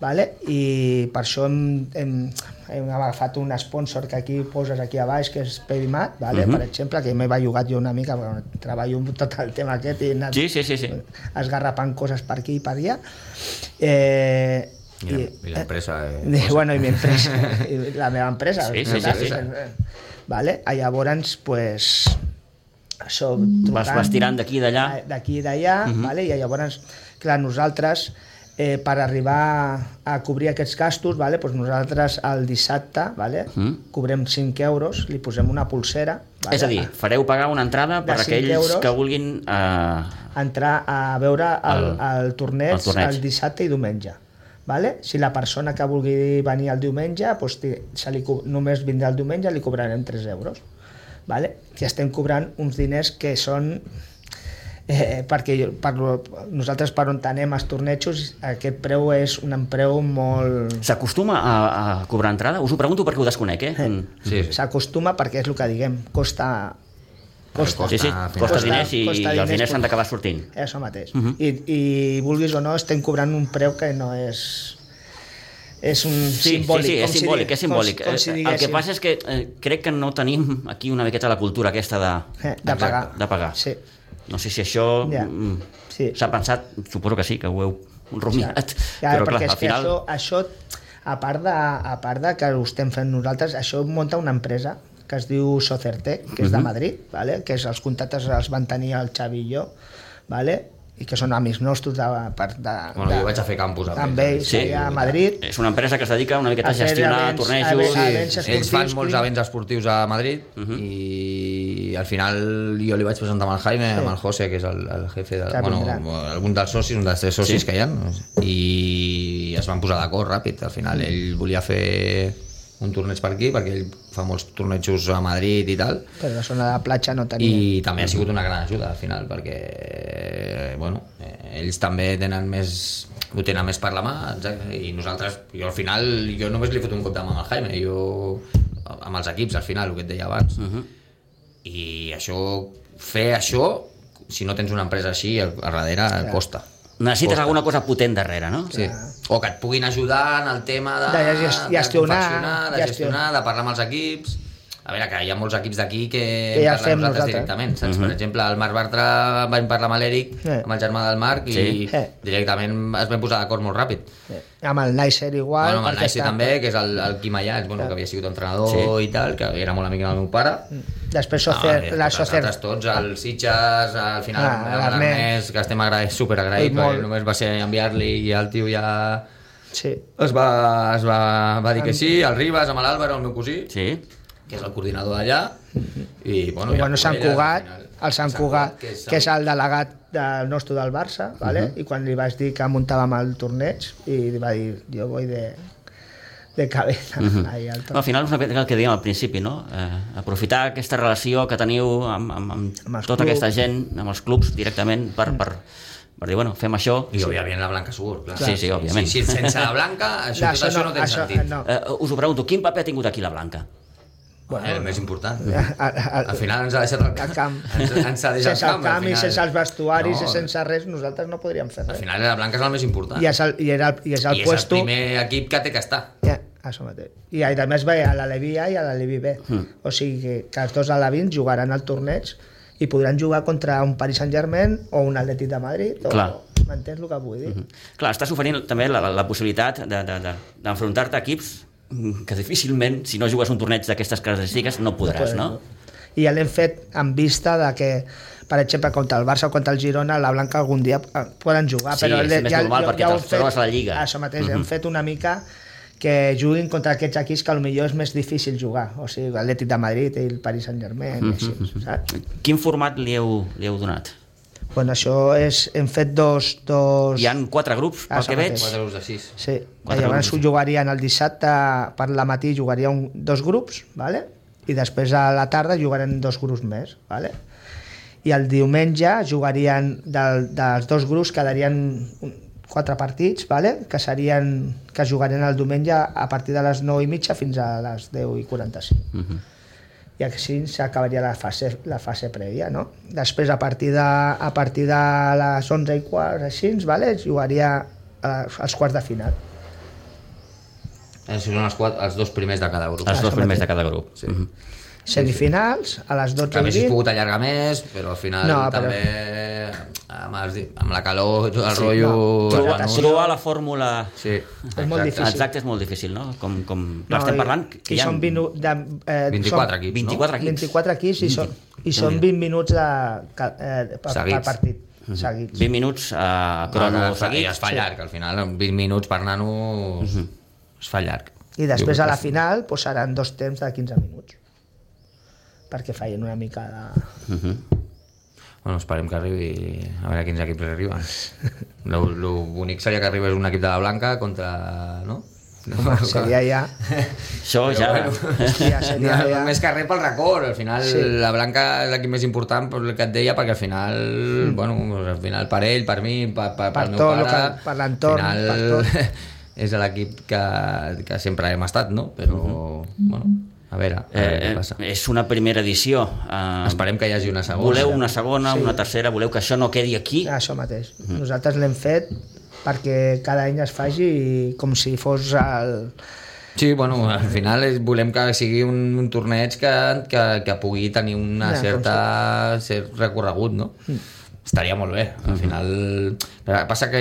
[SPEAKER 4] vale? i per això hem, hem, hem agafat un sponsor que aquí poses aquí a baix, que és Pedimat, vale?
[SPEAKER 2] Mhm.
[SPEAKER 4] per exemple, que m'he bellugat jo una mica, bueno, treballo amb tot el tema aquest i he anat
[SPEAKER 2] Sí, sí, sí, sí.
[SPEAKER 4] esgarrapant coses per aquí i per allà. Eh,
[SPEAKER 3] I la- i l'empresa, eh,
[SPEAKER 4] Eh,
[SPEAKER 3] cosa.
[SPEAKER 4] *laughs* bueno, i mi empresa.
[SPEAKER 2] *laughs*
[SPEAKER 4] I la meva empresa.
[SPEAKER 2] Sí, sí,
[SPEAKER 4] saps?
[SPEAKER 2] sí, sí.
[SPEAKER 4] Eh, Vale? A llavors, pues, això,
[SPEAKER 2] Vas, vas tirant d'aquí i d'allà. Mhm.
[SPEAKER 4] d'aquí i d'allà, uh -huh. vale? i llavors, clar, nosaltres eh, per arribar a cobrir aquests gastos, vale? doncs nosaltres el dissabte vale?
[SPEAKER 2] Mm.
[SPEAKER 4] cobrem 5 euros, li posem una pulsera. Vale?
[SPEAKER 2] És a dir, fareu pagar una entrada
[SPEAKER 4] De
[SPEAKER 2] per
[SPEAKER 4] cinc
[SPEAKER 2] aquells
[SPEAKER 4] euros.
[SPEAKER 2] que vulguin... Eh,
[SPEAKER 4] entrar a veure el,
[SPEAKER 2] El-
[SPEAKER 4] el, torneig
[SPEAKER 2] el
[SPEAKER 4] el,
[SPEAKER 2] torneig.
[SPEAKER 4] dissabte i diumenge. Vale? Si la persona que vulgui venir el diumenge doncs, té- se li, co- només vindrà el diumenge li cobrarem 3 euros. Vale? I estem cobrant uns diners que són... Eh, perquè jo, per, lo- nosaltres per on anem als tornejos aquest preu és un preu molt...
[SPEAKER 2] S'acostuma a, a cobrar entrada? Us ho pregunto perquè ho desconec, eh? Mm.
[SPEAKER 3] Sí, sí.
[SPEAKER 4] S'acostuma perquè és el que diguem, costa...
[SPEAKER 3] Costa.
[SPEAKER 2] Sí, sí,
[SPEAKER 3] Ah,
[SPEAKER 2] costa
[SPEAKER 3] costa-
[SPEAKER 2] diners i,
[SPEAKER 4] costa
[SPEAKER 2] i els
[SPEAKER 4] diners,
[SPEAKER 2] diners s'han
[SPEAKER 4] costa.
[SPEAKER 2] d'acabar sortint.
[SPEAKER 4] Això mateix.
[SPEAKER 2] Mhm.
[SPEAKER 4] I, I vulguis o no, estem cobrant un preu que no és... És un
[SPEAKER 2] Sí,
[SPEAKER 4] simbòlic.
[SPEAKER 2] sí, sí,
[SPEAKER 4] com
[SPEAKER 2] és
[SPEAKER 4] si
[SPEAKER 2] simbòlic,
[SPEAKER 4] digui-
[SPEAKER 2] és simbòlic. Eh,
[SPEAKER 4] Com, si- com si
[SPEAKER 2] el que passa és que eh, crec que no tenim aquí una miqueta la cultura aquesta de,
[SPEAKER 4] Eh, de pagar.
[SPEAKER 2] de pagar.
[SPEAKER 4] Sí.
[SPEAKER 2] No sé si això
[SPEAKER 4] Ja.
[SPEAKER 2] mm,
[SPEAKER 4] Sí.
[SPEAKER 2] s'ha pensat, suposo que sí, que ho heu rumiat,
[SPEAKER 4] Ja,
[SPEAKER 2] però clar,
[SPEAKER 4] perquè és
[SPEAKER 2] al
[SPEAKER 4] que
[SPEAKER 2] final...
[SPEAKER 4] això, això a, part de, a part de que ho estem fent nosaltres, això munta una empresa que es diu Socertec, que és
[SPEAKER 2] Mhm.
[SPEAKER 4] de Madrid, vale? que és, els contactes els van tenir el Xavi i jo, vale? i que són amics nostres de, per, de,
[SPEAKER 3] Bueno,
[SPEAKER 4] de,
[SPEAKER 3] jo vaig a fer campus amb
[SPEAKER 4] amb
[SPEAKER 2] eh.
[SPEAKER 3] ells.
[SPEAKER 4] ells allà a Madrid,
[SPEAKER 2] És una empresa que es dedica una miqueta a,
[SPEAKER 4] A fer
[SPEAKER 2] gestionar
[SPEAKER 4] events,
[SPEAKER 2] tornejos...
[SPEAKER 4] a- a-
[SPEAKER 2] Sí.
[SPEAKER 4] events
[SPEAKER 3] ells
[SPEAKER 4] esportius,
[SPEAKER 3] fan molts
[SPEAKER 4] cuina.
[SPEAKER 3] events esportius a Madrid i al final jo li vaig presentar amb el Jaime, amb el José, que és el, el jefe de,
[SPEAKER 4] Que
[SPEAKER 3] bueno,
[SPEAKER 4] vindrà.
[SPEAKER 3] algun dels socis, un dels tres socis
[SPEAKER 2] Sí.
[SPEAKER 3] que hi ha, no sé. i es van posar d'acord ràpid. Al final ell volia fer un torneig per aquí, perquè ell fa molts tornejos a Madrid i tal,
[SPEAKER 4] però la zona de platja no tenia...
[SPEAKER 3] i també ha sigut una gran ajuda al final perquè eh, bueno, eh, ells també tenen més ho tenen més per la mà exacte, i nosaltres, jo al final jo només li he fotut un cop de mà al Jaime jo, amb els equips al final, el que et deia abans uh -huh. i això fer això, si no tens una empresa així al, al darrere, costa
[SPEAKER 2] Necessites alguna cosa potent darrere, no?
[SPEAKER 3] Sí. O que et puguin ajudar en el tema de,
[SPEAKER 4] De ges- gestionar,
[SPEAKER 3] de, confeccionar, de
[SPEAKER 4] gestionar.
[SPEAKER 3] gestionar, de parlar amb els equips. A veure, que hi ha molts equips d'aquí que,
[SPEAKER 4] Que ja
[SPEAKER 3] en parlem
[SPEAKER 4] fem
[SPEAKER 3] nosaltres,
[SPEAKER 4] nosaltres.
[SPEAKER 3] directament. Saps?
[SPEAKER 2] Mhm.
[SPEAKER 3] Per exemple, el Marc Bartra vam parlar amb l'Eric,
[SPEAKER 4] Eh.
[SPEAKER 3] amb el germà del Marc,
[SPEAKER 2] Sí.
[SPEAKER 3] i
[SPEAKER 4] Eh.
[SPEAKER 3] directament es van posar d'acord molt ràpid.
[SPEAKER 4] amb el Nicer igual
[SPEAKER 3] bueno, amb el
[SPEAKER 4] perquè
[SPEAKER 3] Naisi
[SPEAKER 4] està-
[SPEAKER 3] també, que és el, el Quim Ayats, bueno, que havia sigut entrenador
[SPEAKER 2] Sí.
[SPEAKER 3] i tal, que era molt amic del meu pare.
[SPEAKER 4] Mm.
[SPEAKER 3] Ah,
[SPEAKER 4] després Socer,
[SPEAKER 3] i
[SPEAKER 4] la
[SPEAKER 3] tots
[SPEAKER 4] Socer
[SPEAKER 3] nosaltres tots, el Sitges, al final
[SPEAKER 4] Ah,
[SPEAKER 3] ah,
[SPEAKER 4] l'Ernest.
[SPEAKER 3] l'Ernest, que estem agraïts, superagraïts,
[SPEAKER 4] Ui,
[SPEAKER 3] perquè
[SPEAKER 4] molt.
[SPEAKER 3] només va ser enviar-li i el tio ja
[SPEAKER 4] sí.
[SPEAKER 3] es va, es va, va dir que sí, el Ribas, amb l'Àlvaro, el meu cosí,
[SPEAKER 2] Sí.
[SPEAKER 3] que és el coordinador d'allà, i bueno,
[SPEAKER 4] I,
[SPEAKER 3] ja
[SPEAKER 4] bueno, Sant
[SPEAKER 3] ell, al
[SPEAKER 4] Cugat,
[SPEAKER 3] final,
[SPEAKER 4] el Sant Cugat, que és el delegat del nostre del Barça, vale? i quan li vaig dir que muntàvem el torneig, i li va dir, jo vull de, de cabeza. Mm *laughs* al
[SPEAKER 2] Al
[SPEAKER 4] torneig.
[SPEAKER 2] final és una mica el que dèiem al principi, no? Eh, aprofitar aquesta relació que teniu amb, amb, amb,
[SPEAKER 4] Amb els
[SPEAKER 2] tota
[SPEAKER 4] clubs. Mm.
[SPEAKER 2] aquesta gent, amb els clubs directament, per, per, per dir, bueno, fem això.
[SPEAKER 3] I, òbviament, la Blanca surt, clar.
[SPEAKER 2] Sí, sí, òbviament.
[SPEAKER 3] Sí, sí, sense la Blanca, això, tot això no, té sentit.
[SPEAKER 4] no. *laughs*
[SPEAKER 2] Eh, us ho pregunto, quin paper ha tingut aquí la Blanca?
[SPEAKER 3] Bueno, el més important.
[SPEAKER 4] A- a- a-
[SPEAKER 3] Al final ens ha deixat el
[SPEAKER 4] El
[SPEAKER 3] camp.
[SPEAKER 4] camp.
[SPEAKER 3] *laughs* Ens, ens ha deixat
[SPEAKER 4] sense el
[SPEAKER 3] al
[SPEAKER 4] camp i
[SPEAKER 3] final.
[SPEAKER 4] sense els vestuaris
[SPEAKER 3] No,
[SPEAKER 4] i sense res, nosaltres no podríem fer
[SPEAKER 3] Al
[SPEAKER 4] res.
[SPEAKER 3] final la Blanca és el més important.
[SPEAKER 4] I és el, i era el, i és el
[SPEAKER 3] I és
[SPEAKER 4] puesto...
[SPEAKER 3] el primer equip que té que estar.
[SPEAKER 4] Ja, això mateix. I a a més ve a l'Alevi A i a l'Alevi B.
[SPEAKER 2] Hmm.
[SPEAKER 4] O sigui que, que els dos alevins jugaran al torneig i podran jugar contra un Paris Saint-Germain o un Atlètic de Madrid. O,
[SPEAKER 2] Clar. Mm-hmm.
[SPEAKER 4] M'entens el que vull dir?
[SPEAKER 2] Clar, estàs oferint també la, la, la possibilitat de- de- de- d'enfrontar-te de, a equips mm, que difícilment, si no jugues un torneig d'aquestes característiques, no podràs, no?
[SPEAKER 4] I ja l'hem fet en vista de que per exemple, contra el Barça o contra el Girona, la Blanca algun dia eh, poden jugar.
[SPEAKER 2] Sí,
[SPEAKER 4] però
[SPEAKER 2] és
[SPEAKER 4] le-
[SPEAKER 2] més normal perquè
[SPEAKER 4] ho
[SPEAKER 2] te'ls
[SPEAKER 4] hem fet-
[SPEAKER 2] trobes a la Lliga. Mm-hmm.
[SPEAKER 4] Això mateix, hem fet una mica que juguin contra aquests equips que potser és més difícil jugar. O sigui, l'Atlètic de Madrid i el Paris Saint-Germain, i així,
[SPEAKER 2] Mm-hmm.
[SPEAKER 4] saps?
[SPEAKER 2] Quin format li heu, li heu donat?
[SPEAKER 4] Bueno, això és... Hem fet dos... dos...
[SPEAKER 2] Hi han quatre grups, pel
[SPEAKER 4] Doncs Això
[SPEAKER 2] que veig.
[SPEAKER 4] mateix.
[SPEAKER 3] Quatre grups de sis.
[SPEAKER 4] Sí.
[SPEAKER 2] Quatre
[SPEAKER 4] Llavors
[SPEAKER 2] grups.
[SPEAKER 4] jugarien el dissabte per la matí jugaria un, dos grups, vale? i després a la tarda jugarem dos grups més. Vale? I el diumenge jugarien del, dels dos grups quedarien un, quatre partits, vale? que serien que jugarien el diumenge a partir de les 9 i mitja fins a les 10 i 45. Uh
[SPEAKER 2] Mhm.
[SPEAKER 4] -huh. I així s'acabaria la fase, la fase prèvia, no? Després, a partir de, a partir de les 11 i quarts, així, vale? jugaria eh, als quarts de final.
[SPEAKER 3] Això Eh, són els, quatre, els dos primers de cada grup.
[SPEAKER 2] Els dos
[SPEAKER 4] Això
[SPEAKER 2] primers
[SPEAKER 4] mateix.
[SPEAKER 2] de cada grup. Sí.
[SPEAKER 4] semifinals a les 12
[SPEAKER 3] També
[SPEAKER 4] i
[SPEAKER 3] s'hi
[SPEAKER 4] 20
[SPEAKER 3] pogut allargar més, però al final
[SPEAKER 4] No,
[SPEAKER 3] no,
[SPEAKER 4] però-
[SPEAKER 3] però... també amb, els, di- amb la calor, el sí, rotllo...
[SPEAKER 4] no,
[SPEAKER 3] el
[SPEAKER 4] trobar-
[SPEAKER 3] venut.
[SPEAKER 2] Trobar la fórmula
[SPEAKER 3] Sí,
[SPEAKER 4] És molt difícil.
[SPEAKER 2] exacta és molt difícil, no? Com, com...
[SPEAKER 4] No,
[SPEAKER 2] No, estem
[SPEAKER 4] i-
[SPEAKER 2] parlant
[SPEAKER 4] i
[SPEAKER 2] que hi ha
[SPEAKER 4] són 20, de, eh,
[SPEAKER 3] 24
[SPEAKER 4] són
[SPEAKER 3] Ah, equips,
[SPEAKER 2] 24
[SPEAKER 3] no?
[SPEAKER 2] equips.
[SPEAKER 4] 24 equips i són, i són 20 minuts de, ca- eh, per, per
[SPEAKER 3] Seguits.
[SPEAKER 4] partit
[SPEAKER 2] Mhm.
[SPEAKER 4] seguits.
[SPEAKER 2] 20 minuts eh, a crono
[SPEAKER 3] es Ah, fa,
[SPEAKER 2] seguit.
[SPEAKER 3] ja es fa llarg, al final, en 20 minuts per nano es fa llarg.
[SPEAKER 4] Mhm. I després
[SPEAKER 3] Jo
[SPEAKER 4] a la
[SPEAKER 3] crec que
[SPEAKER 4] final posaran dos temps de 15 minuts perquè feien una mica de...
[SPEAKER 3] Bueno, esperem que arribi, a veure quins equips arriben. Lo, lo bonic seria que arribés un equip de la Blanca contra... No? Home,
[SPEAKER 4] Seria ja...
[SPEAKER 2] Això ja... eh,
[SPEAKER 4] Hòstia, seria
[SPEAKER 3] no,
[SPEAKER 4] ja...
[SPEAKER 3] Més que res pel record, al final sí. la Blanca és l'equip més important pel que et deia perquè al final, mm. bueno, al final per ell, per mi, per, per,
[SPEAKER 4] Per
[SPEAKER 3] pel meu
[SPEAKER 4] tot,
[SPEAKER 3] pare,
[SPEAKER 4] que- per l'entorn,
[SPEAKER 3] al
[SPEAKER 4] per
[SPEAKER 3] final,
[SPEAKER 4] tot.
[SPEAKER 3] *laughs* és l'equip que, que sempre hem estat, no? Però, bueno, a veure, a veure
[SPEAKER 2] Mhm. Eh,
[SPEAKER 3] què passa.
[SPEAKER 2] eh, és una primera edició. Eh,
[SPEAKER 3] Esperem que hi hagi una segona.
[SPEAKER 2] Voleu una segona, sí. una tercera, voleu que això no quedi aquí?
[SPEAKER 4] Això mateix.
[SPEAKER 2] Mhm.
[SPEAKER 4] Nosaltres l'hem fet perquè cada any es faci com si fos el...
[SPEAKER 3] Sí, bueno, al final és, volem que sigui un, un torneig que, que, que pugui tenir una
[SPEAKER 4] Ja, Mm.
[SPEAKER 3] certa, cert recorregut, no? Estaria molt bé,
[SPEAKER 4] Mm-hmm.
[SPEAKER 3] al final... Però passa que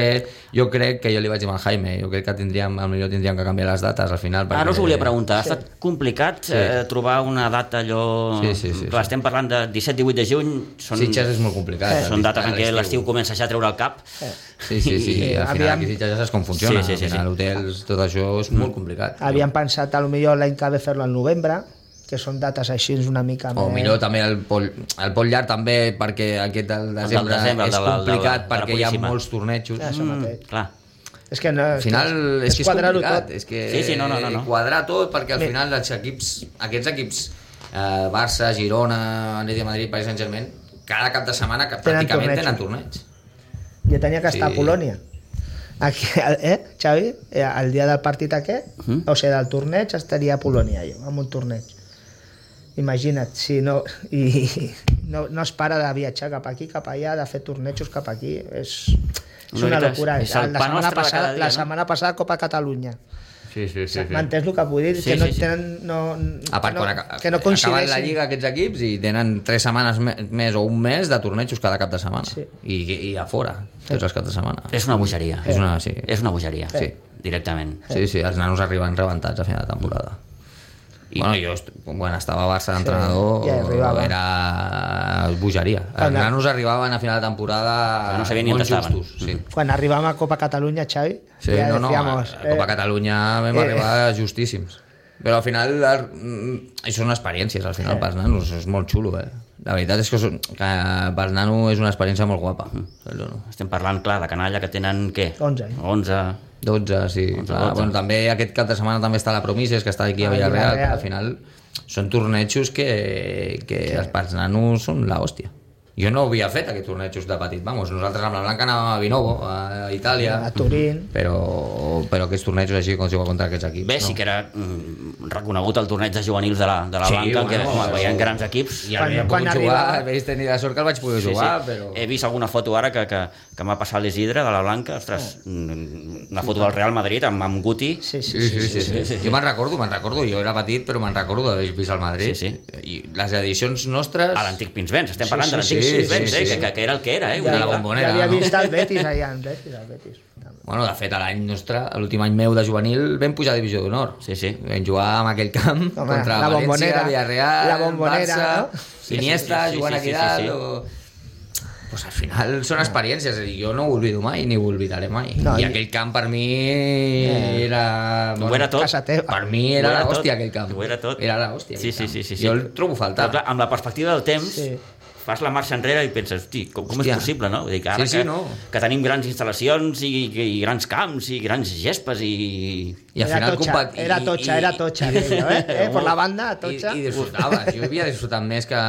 [SPEAKER 3] jo crec que jo li vaig dir al Jaime, jo crec que tindríem, potser tindríem que canviar les dates al final.
[SPEAKER 2] Ara us volia preguntar, ha estat complicat eh, trobar una data allò...
[SPEAKER 3] Sí, sí, sí,
[SPEAKER 2] Clar,
[SPEAKER 3] sí.
[SPEAKER 2] estem parlant de 17-18 de juny, són, Eh,
[SPEAKER 3] Sitges és molt complicat. eh,
[SPEAKER 2] són
[SPEAKER 3] a
[SPEAKER 2] dates en què l'estiu comença ja a treure el cap.
[SPEAKER 3] Sí, sí, sí,
[SPEAKER 4] I-
[SPEAKER 3] al final
[SPEAKER 4] aviam- Mm.
[SPEAKER 3] aquí a Sitges ja saps com funciona,
[SPEAKER 2] Sí, sí, sí,
[SPEAKER 3] al final
[SPEAKER 2] sí.
[SPEAKER 3] hotels, tot això és molt complicat.
[SPEAKER 4] Havíem pensat a lo millor l'any que ve fer-lo al novembre, que són dates així una mica més...
[SPEAKER 3] O millor també el pol, el pol llarg també perquè aquest del desembre,
[SPEAKER 2] desembre, el
[SPEAKER 3] és
[SPEAKER 2] de la- el de la- de
[SPEAKER 3] complicat
[SPEAKER 2] la
[SPEAKER 3] perquè hi ha
[SPEAKER 2] Puríssima.
[SPEAKER 3] molts tornejos.
[SPEAKER 2] Mm.
[SPEAKER 4] Ja, Això mateix.
[SPEAKER 2] Clar.
[SPEAKER 4] És que no,
[SPEAKER 3] Al final és, que és
[SPEAKER 4] quadrar-ho
[SPEAKER 3] complicat,
[SPEAKER 4] tot.
[SPEAKER 3] és que
[SPEAKER 2] Sí, sí, no, no, no, no.
[SPEAKER 3] quadrar tot perquè al
[SPEAKER 4] Bé.
[SPEAKER 3] final els equips, aquests equips eh, Barça, Girona, Atlètic de Madrid, Paris Saint-Germain, cada cap de setmana que
[SPEAKER 4] Tenen
[SPEAKER 3] pràcticament
[SPEAKER 4] torneigs.
[SPEAKER 3] tenen torneig.
[SPEAKER 4] Jo tenia que estar
[SPEAKER 3] Sí.
[SPEAKER 4] a Polònia. Aquí, eh, Xavi? Eh, El dia del partit aquest, uh -huh. o sigui, del torneig, estaria a Polònia jo, amb un torneig. Imagina't, si no, i, no, no es para de viatjar cap aquí, cap allà, de fer tornejos cap aquí, és, és
[SPEAKER 2] Una
[SPEAKER 4] una
[SPEAKER 2] mica
[SPEAKER 4] locura.
[SPEAKER 2] és- és el
[SPEAKER 4] la
[SPEAKER 2] pa nostre de
[SPEAKER 4] setmana,
[SPEAKER 2] cada
[SPEAKER 4] passada,
[SPEAKER 2] dia,
[SPEAKER 4] la
[SPEAKER 2] no?
[SPEAKER 4] setmana passada Copa Catalunya.
[SPEAKER 3] Sí, sí, sí.
[SPEAKER 4] M'ha entès el que vull dir?
[SPEAKER 2] Sí,
[SPEAKER 4] que no,
[SPEAKER 2] sí, sí.
[SPEAKER 4] Tenen, no,
[SPEAKER 3] A part,
[SPEAKER 4] no,
[SPEAKER 3] quan aca-
[SPEAKER 4] que no
[SPEAKER 3] acaben la
[SPEAKER 4] coincideixin.
[SPEAKER 3] Lliga aquests equips i tenen tres setmanes me- més o un mes de tornejos cada cap de setmana.
[SPEAKER 4] Sí.
[SPEAKER 3] I, I a fora, tots els caps de setmana.
[SPEAKER 2] És una bogeria.
[SPEAKER 3] És una- sí.
[SPEAKER 2] És una bogeria,
[SPEAKER 3] Sí.
[SPEAKER 2] directament.
[SPEAKER 3] Sí, sí, els nanos arriben rebentats a final de temporada. I, bueno, jo, est- quan estava a Barça d'entrenador,
[SPEAKER 4] Sí, ja arribava.
[SPEAKER 3] era bogeria. Els
[SPEAKER 4] Clar.
[SPEAKER 3] nanos arribaven a final de temporada
[SPEAKER 2] Que Ah, no sabien ni on
[SPEAKER 3] molt
[SPEAKER 2] estaven. Mm.
[SPEAKER 3] justos. Sí.
[SPEAKER 4] Quan arribàvem a Copa Catalunya, Xavi,
[SPEAKER 3] Sí,
[SPEAKER 4] ja
[SPEAKER 3] no, no,
[SPEAKER 4] decíamos,
[SPEAKER 3] a, a Copa
[SPEAKER 4] eh,
[SPEAKER 3] Catalunya vam
[SPEAKER 4] eh.
[SPEAKER 3] arribar justíssims. Però al final, el- mm, això són experiències, al final, pels nanos, és molt xulo, eh? La veritat és que, són- que pel nano és una experiència molt guapa.
[SPEAKER 2] Mm.
[SPEAKER 3] Saps o no?
[SPEAKER 2] Estem parlant, clar, de canalla que tenen, què?
[SPEAKER 4] 11 anys.
[SPEAKER 2] 11.
[SPEAKER 3] 12, sí. 11, 12. Bueno, també aquest cap de setmana també està la Promises, que està
[SPEAKER 4] Ah,
[SPEAKER 3] aquí a Villarreal.
[SPEAKER 4] Villarreal.
[SPEAKER 3] Al final són tornejos que, que els pels nanos són la hòstia. Jo no havia fet aquests tornejos de petit. Vamos, nosaltres amb la Blanca anàvem a Vinovo, a Itàlia,
[SPEAKER 4] a Turín...
[SPEAKER 3] però, però aquests tornejos així com es juga contra aquests equips.
[SPEAKER 2] Bé, sí que era mm, reconegut el torneig de juvenils de la, de la
[SPEAKER 3] Sí,
[SPEAKER 2] Blanca, que
[SPEAKER 3] bueno,
[SPEAKER 2] home,
[SPEAKER 3] sí.
[SPEAKER 2] veiem grans equips.
[SPEAKER 3] I
[SPEAKER 4] Quan-
[SPEAKER 3] quan,
[SPEAKER 4] quan
[SPEAKER 3] quan arriba...
[SPEAKER 4] arriba-
[SPEAKER 3] jugar, vaig tenir la sort que el vaig poder
[SPEAKER 2] Sí,
[SPEAKER 3] jugar,
[SPEAKER 2] sí. Eh,
[SPEAKER 3] però...
[SPEAKER 2] He vist alguna foto ara que, que, que m'ha passat l'Isidre de la Blanca, ostres, mm, una foto del Real Madrid amb, amb Guti.
[SPEAKER 4] Sí, sí,
[SPEAKER 3] Oh. Sí, sí, sí, sí, sí. Jo me'n recordo, me'n recordo, jo era petit, però me'n recordo d'haver vist el Madrid.
[SPEAKER 2] Sí,
[SPEAKER 3] I les edicions nostres...
[SPEAKER 2] A l'antic Pinsbens, estem parlant
[SPEAKER 4] sí,
[SPEAKER 2] de l'antic
[SPEAKER 3] sí, sí,
[SPEAKER 2] Pinsbens,
[SPEAKER 3] sí,
[SPEAKER 2] eh,
[SPEAKER 3] sí.
[SPEAKER 2] que, que, que era el que era, eh?
[SPEAKER 3] De
[SPEAKER 2] una
[SPEAKER 3] la
[SPEAKER 2] mica.
[SPEAKER 3] bombonera,
[SPEAKER 4] ja havia
[SPEAKER 3] no?
[SPEAKER 4] vist el Betis allà, el Betis, el Betis.
[SPEAKER 3] Bueno, de fet, a l'any nostre, a l'últim any meu de juvenil, vam pujar a Divisió d'Honor.
[SPEAKER 2] Sí, sí.
[SPEAKER 3] Vam jugar amb aquell camp Home, contra
[SPEAKER 4] la
[SPEAKER 3] València,
[SPEAKER 4] Bombonera.
[SPEAKER 3] Villarreal,
[SPEAKER 4] La Bombonera,
[SPEAKER 3] Barça,
[SPEAKER 4] no?
[SPEAKER 2] sí,
[SPEAKER 3] Iniesta,
[SPEAKER 2] sí, sí,
[SPEAKER 3] jugant
[SPEAKER 2] sí,
[SPEAKER 3] aquí
[SPEAKER 2] sí,
[SPEAKER 3] dalt...
[SPEAKER 2] sí. Ah.
[SPEAKER 3] o- Pues al final són experiències, i jo no ho oblido mai, ni ho oblidaré mai.
[SPEAKER 4] No,
[SPEAKER 3] I
[SPEAKER 4] i- Eh.
[SPEAKER 3] aquell camp per mi era...
[SPEAKER 2] Ho era tot.
[SPEAKER 4] Casa teva.
[SPEAKER 3] Per mi era
[SPEAKER 2] Ho era
[SPEAKER 3] la
[SPEAKER 2] tot.
[SPEAKER 3] hòstia, aquell camp.
[SPEAKER 2] Ho era tot.
[SPEAKER 3] Era la hòstia.
[SPEAKER 2] Sí,
[SPEAKER 3] aquell
[SPEAKER 2] sí,
[SPEAKER 3] camp.
[SPEAKER 2] sí, sí, sí.
[SPEAKER 3] Jo el trobo
[SPEAKER 2] Però, clar,
[SPEAKER 3] faltant.
[SPEAKER 2] amb la perspectiva del temps,
[SPEAKER 4] Sí.
[SPEAKER 2] fas la marxa enrere i penses, hosti, com, com
[SPEAKER 3] Hòstia.
[SPEAKER 2] és possible, no? Vull dir, que ara
[SPEAKER 3] Sí, sí,
[SPEAKER 2] que,
[SPEAKER 3] no.
[SPEAKER 2] que tenim grans instal·lacions i, i, i grans camps i grans gespes i...
[SPEAKER 3] I al
[SPEAKER 4] era,
[SPEAKER 3] final
[SPEAKER 4] tocha,
[SPEAKER 3] compat-
[SPEAKER 4] era
[SPEAKER 3] i-
[SPEAKER 4] tocha,
[SPEAKER 3] i-
[SPEAKER 4] era tocha, aquello, eh? eh? Por la banda,
[SPEAKER 3] *laughs* I,
[SPEAKER 4] tocha.
[SPEAKER 3] I disfrutava, jo havia disfrutat més que...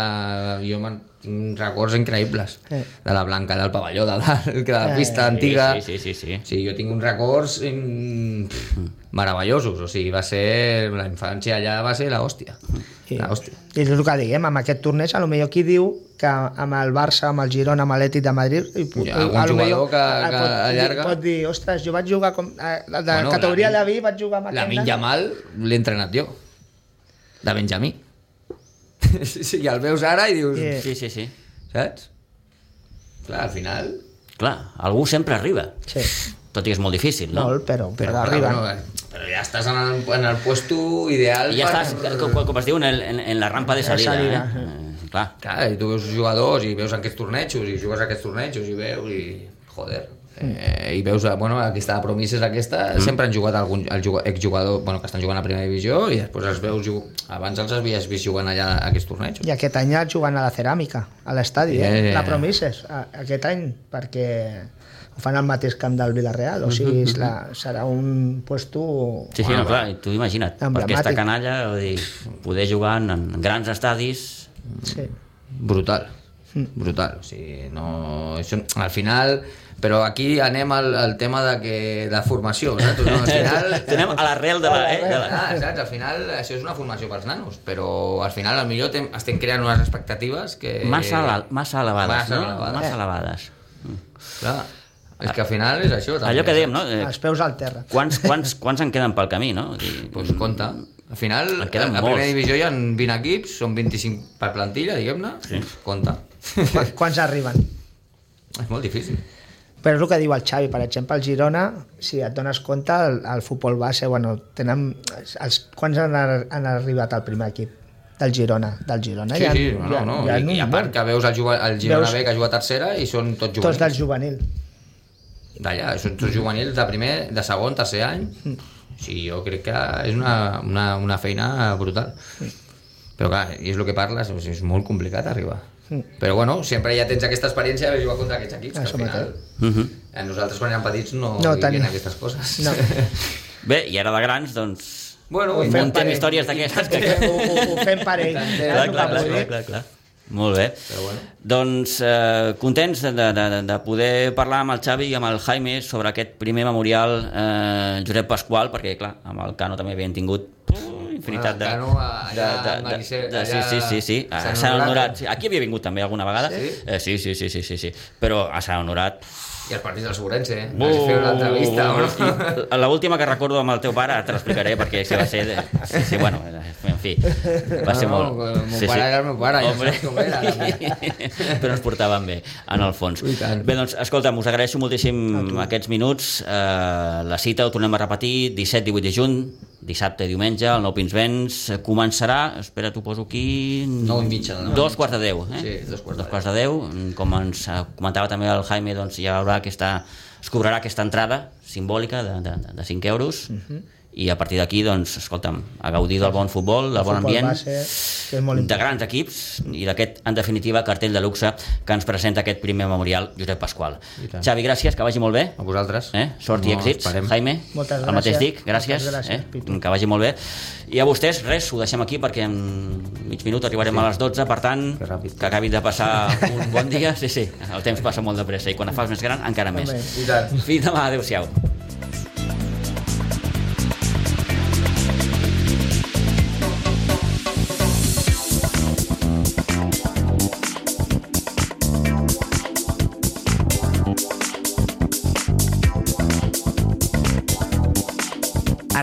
[SPEAKER 3] Jo me'n tinc records increïbles
[SPEAKER 4] Eh.
[SPEAKER 3] de la Blanca, del pavelló de dalt, que de la
[SPEAKER 4] Eh.
[SPEAKER 3] pista antiga...
[SPEAKER 2] Sí, sí, sí, sí. sí.
[SPEAKER 3] Sí, jo tinc uns records mm, pff, meravellosos, o sigui, va ser... La infància allà va ser la hòstia.
[SPEAKER 4] Sí.
[SPEAKER 3] La hòstia.
[SPEAKER 4] I és el que diguem, amb aquest torneig, a lo millor qui diu que amb el Barça, amb el Girona, amb l'Ètic de Madrid... I,
[SPEAKER 3] Hi ha algun
[SPEAKER 4] a lo
[SPEAKER 3] jugador que-
[SPEAKER 4] eh,
[SPEAKER 3] que
[SPEAKER 4] pot,
[SPEAKER 3] allarga?
[SPEAKER 4] Pot dir, ostres, jo vaig jugar com, eh, de
[SPEAKER 3] Bueno,
[SPEAKER 4] bueno, categoria
[SPEAKER 3] la-
[SPEAKER 4] la, David, vaig jugar amb
[SPEAKER 3] La
[SPEAKER 4] aquest...
[SPEAKER 3] Minja
[SPEAKER 4] nano.
[SPEAKER 3] Mal l'he entrenat jo. De Benjamí. *laughs* Sí, sí, i el veus ara i dius...
[SPEAKER 4] Sí.
[SPEAKER 2] Sí, sí, sí.
[SPEAKER 3] Saps? Clar, al final...
[SPEAKER 2] Clar, algú sempre arriba,
[SPEAKER 4] Sí,
[SPEAKER 2] tot i que és molt difícil, no?
[SPEAKER 4] molt, però, però, però arriba.
[SPEAKER 3] Però, bueno, eh, però ja estàs en el, en el puesto ideal
[SPEAKER 2] I ja
[SPEAKER 3] per-
[SPEAKER 2] estàs, com, com es diu, en, el, en, en la rampa de salida.
[SPEAKER 4] salida,
[SPEAKER 2] eh? Eh, clar.
[SPEAKER 3] Clar, i tu veus jugadors i veus aquests tornejos i jugues aquests tornejos i veus i... Joder. Eh, i veus, eh, bueno, aquesta promises aquesta, mm. sempre han jugat algun el juga- exjugador, bueno, que estan jugant a primera divisió i després els veus, jug... abans els havies vist jugant allà a aquests tornejos.
[SPEAKER 4] I aquest any ha jugant a la ceràmica, a l'estadi,
[SPEAKER 3] Ja, ja,
[SPEAKER 4] eh?
[SPEAKER 3] ja.
[SPEAKER 4] La Promises, a, aquest any, perquè ho fan al mateix camp del Villarreal, o sigui, és la, serà un puesto...
[SPEAKER 2] Sí, sí, no, clar, i tu imagina't, per
[SPEAKER 4] Emblemàtic.
[SPEAKER 2] aquesta canalla, vull dir, poder jugar en, en grans estadis...
[SPEAKER 4] Sí.
[SPEAKER 3] Brutal. Brutal. O sigui, no... Això, al final... Però aquí anem al, al tema de, que, de formació, saps? No, al final...
[SPEAKER 2] Anem a l'arrel de la... Eh, de la...
[SPEAKER 3] Ah, saps? Al final això és una formació pels nanos, però al final al millor tem- estem creant unes expectatives que...
[SPEAKER 2] Massa, ala- massa elevades,
[SPEAKER 3] Eh. Massa
[SPEAKER 2] no?
[SPEAKER 3] elevades.
[SPEAKER 2] Massa elevades.
[SPEAKER 3] Clar, és que al final és això. També.
[SPEAKER 2] Allò que dèiem, no? Eh,
[SPEAKER 4] Els peus al terra.
[SPEAKER 2] Quants, quants, quants en queden pel camí, no? Vull dir,
[SPEAKER 3] Doncs pues, compte. Al final,
[SPEAKER 2] En
[SPEAKER 3] a
[SPEAKER 2] queden
[SPEAKER 3] a primera
[SPEAKER 2] molts.
[SPEAKER 3] divisió hi ha 20 equips, són 25 per plantilla, diguem-ne. Sí. Compte. *laughs*
[SPEAKER 4] Qu- Quants arriben?
[SPEAKER 3] és molt difícil.
[SPEAKER 4] Però és el que diu el Xavi, per exemple, el Girona, si et dones compte, el, el futbol base, bueno, tenen... Els, quants han, ar- han arribat al primer equip? Del Girona, del Girona.
[SPEAKER 3] Sí,
[SPEAKER 4] Hi ha-
[SPEAKER 3] sí,
[SPEAKER 4] hi
[SPEAKER 3] no,
[SPEAKER 4] ha-
[SPEAKER 3] no.
[SPEAKER 4] hi ha
[SPEAKER 3] I,
[SPEAKER 4] un
[SPEAKER 3] I a part
[SPEAKER 4] munt.
[SPEAKER 3] que veus el, juga, el Girona
[SPEAKER 4] Veus-
[SPEAKER 3] B que juga a tercera i són tots juvenils.
[SPEAKER 4] Tots del juvenil.
[SPEAKER 3] D'allà, són tots juvenils de primer, de segon, tercer any.
[SPEAKER 4] Mm.
[SPEAKER 3] Sí, jo crec que és una, una, una feina brutal. Però clar, i és el que parles, o sigui, és molt complicat arribar. Però bueno, sempre ja tens aquesta experiència d'haver jugat contra aquests equips,
[SPEAKER 4] Això
[SPEAKER 3] que al final...
[SPEAKER 2] Uh -huh.
[SPEAKER 3] A nosaltres quan érem petits no,
[SPEAKER 4] No
[SPEAKER 3] no
[SPEAKER 4] tenim.
[SPEAKER 3] vivien aquestes coses.
[SPEAKER 4] No.
[SPEAKER 2] Bé, i ara de grans, doncs...
[SPEAKER 3] *laughs* Bueno, i
[SPEAKER 4] fem
[SPEAKER 3] tant,
[SPEAKER 2] Muntem
[SPEAKER 4] parell.
[SPEAKER 2] històries d'aquestes que...
[SPEAKER 4] Eh, Ho, ho, ho fem parell.
[SPEAKER 2] clar,
[SPEAKER 4] Saps el
[SPEAKER 2] clar,
[SPEAKER 4] que
[SPEAKER 2] clar,
[SPEAKER 4] vull
[SPEAKER 2] clar,
[SPEAKER 4] dir?
[SPEAKER 2] clar, clar. Molt bé.
[SPEAKER 3] Però bueno.
[SPEAKER 2] Doncs eh, contents de, de, de, de poder parlar amb el Xavi i amb el Jaime sobre aquest primer memorial eh, Josep Pasqual, perquè clar, amb el Cano també havien tingut uh, infinitat de...
[SPEAKER 3] Bueno, el Cano, ah, allà, Marisel,
[SPEAKER 2] de- sí,
[SPEAKER 3] allà
[SPEAKER 2] sí, sí, sí, a
[SPEAKER 3] Sant
[SPEAKER 2] Sant
[SPEAKER 3] Honorat.
[SPEAKER 2] Honorat. sí. Aquí havia vingut també alguna vegada.
[SPEAKER 3] Sí?
[SPEAKER 2] Eh, sí, sí, sí, sí, sí, sí. Però a Sant Honorat...
[SPEAKER 3] I els partits del Segurense, eh? Vaig fer una entrevista, o no?
[SPEAKER 2] I la última que recordo amb el teu pare, ara te l'explicaré, perquè si va ser... De... Sí, sí, bueno, en fi, va ser
[SPEAKER 3] No, no,
[SPEAKER 2] molt...
[SPEAKER 3] mon pare era el meu pare, ja
[SPEAKER 2] Hombre.
[SPEAKER 3] saps com era,
[SPEAKER 2] *laughs* Però ens portàvem bé, en el fons.
[SPEAKER 3] I tant.
[SPEAKER 2] Bé, doncs, escolta'm, us agraeixo moltíssim aquests minuts. Eh, la cita ho tornem a repetir, 17-18 de juny, dissabte i diumenge, al Nou Pins Vents. Començarà, espera, t'ho poso aquí...
[SPEAKER 3] Nou i mitja, no?
[SPEAKER 2] Dos quarts de deu, eh?
[SPEAKER 3] Sí, dos quarts de
[SPEAKER 2] dos quarts de deu. Com ens eh, comentava també el Jaime, doncs hi haurà aquesta... es cobrarà aquesta entrada simbòlica de, de, de 5 euros
[SPEAKER 4] Mhm.
[SPEAKER 2] i a partir d'aquí, doncs, escolta'm, a gaudir del bon futbol, del bon
[SPEAKER 4] Futbol
[SPEAKER 2] ambient
[SPEAKER 4] base, que és molt
[SPEAKER 2] de
[SPEAKER 4] important.
[SPEAKER 2] grans equips i d'aquest, en definitiva, cartell de luxe que ens presenta aquest primer memorial Josep Pasqual.
[SPEAKER 3] tant.
[SPEAKER 2] Xavi, gràcies, que vagi molt bé.
[SPEAKER 3] *laughs* A vosaltres.
[SPEAKER 2] Eh? Sort i
[SPEAKER 3] No,
[SPEAKER 2] èxits.
[SPEAKER 3] esperem.
[SPEAKER 2] Jaime,
[SPEAKER 4] Moltes
[SPEAKER 2] el mateix
[SPEAKER 4] gràcies.
[SPEAKER 2] dic, gràcies.
[SPEAKER 4] Moltes gràcies,
[SPEAKER 2] eh?
[SPEAKER 4] Pitu.
[SPEAKER 2] Que vagi molt bé. I a vostès, res, ho deixem aquí perquè en mig minut arribarem a les 12, per tant,
[SPEAKER 3] Que ràpid.
[SPEAKER 2] que acabin de passar un bon dia. Sí, sí, el temps passa molt de pressa i quan et fas més gran, encara més.
[SPEAKER 4] Home.
[SPEAKER 3] I tant.
[SPEAKER 2] Fins demà, adeu-siau.
[SPEAKER 1] A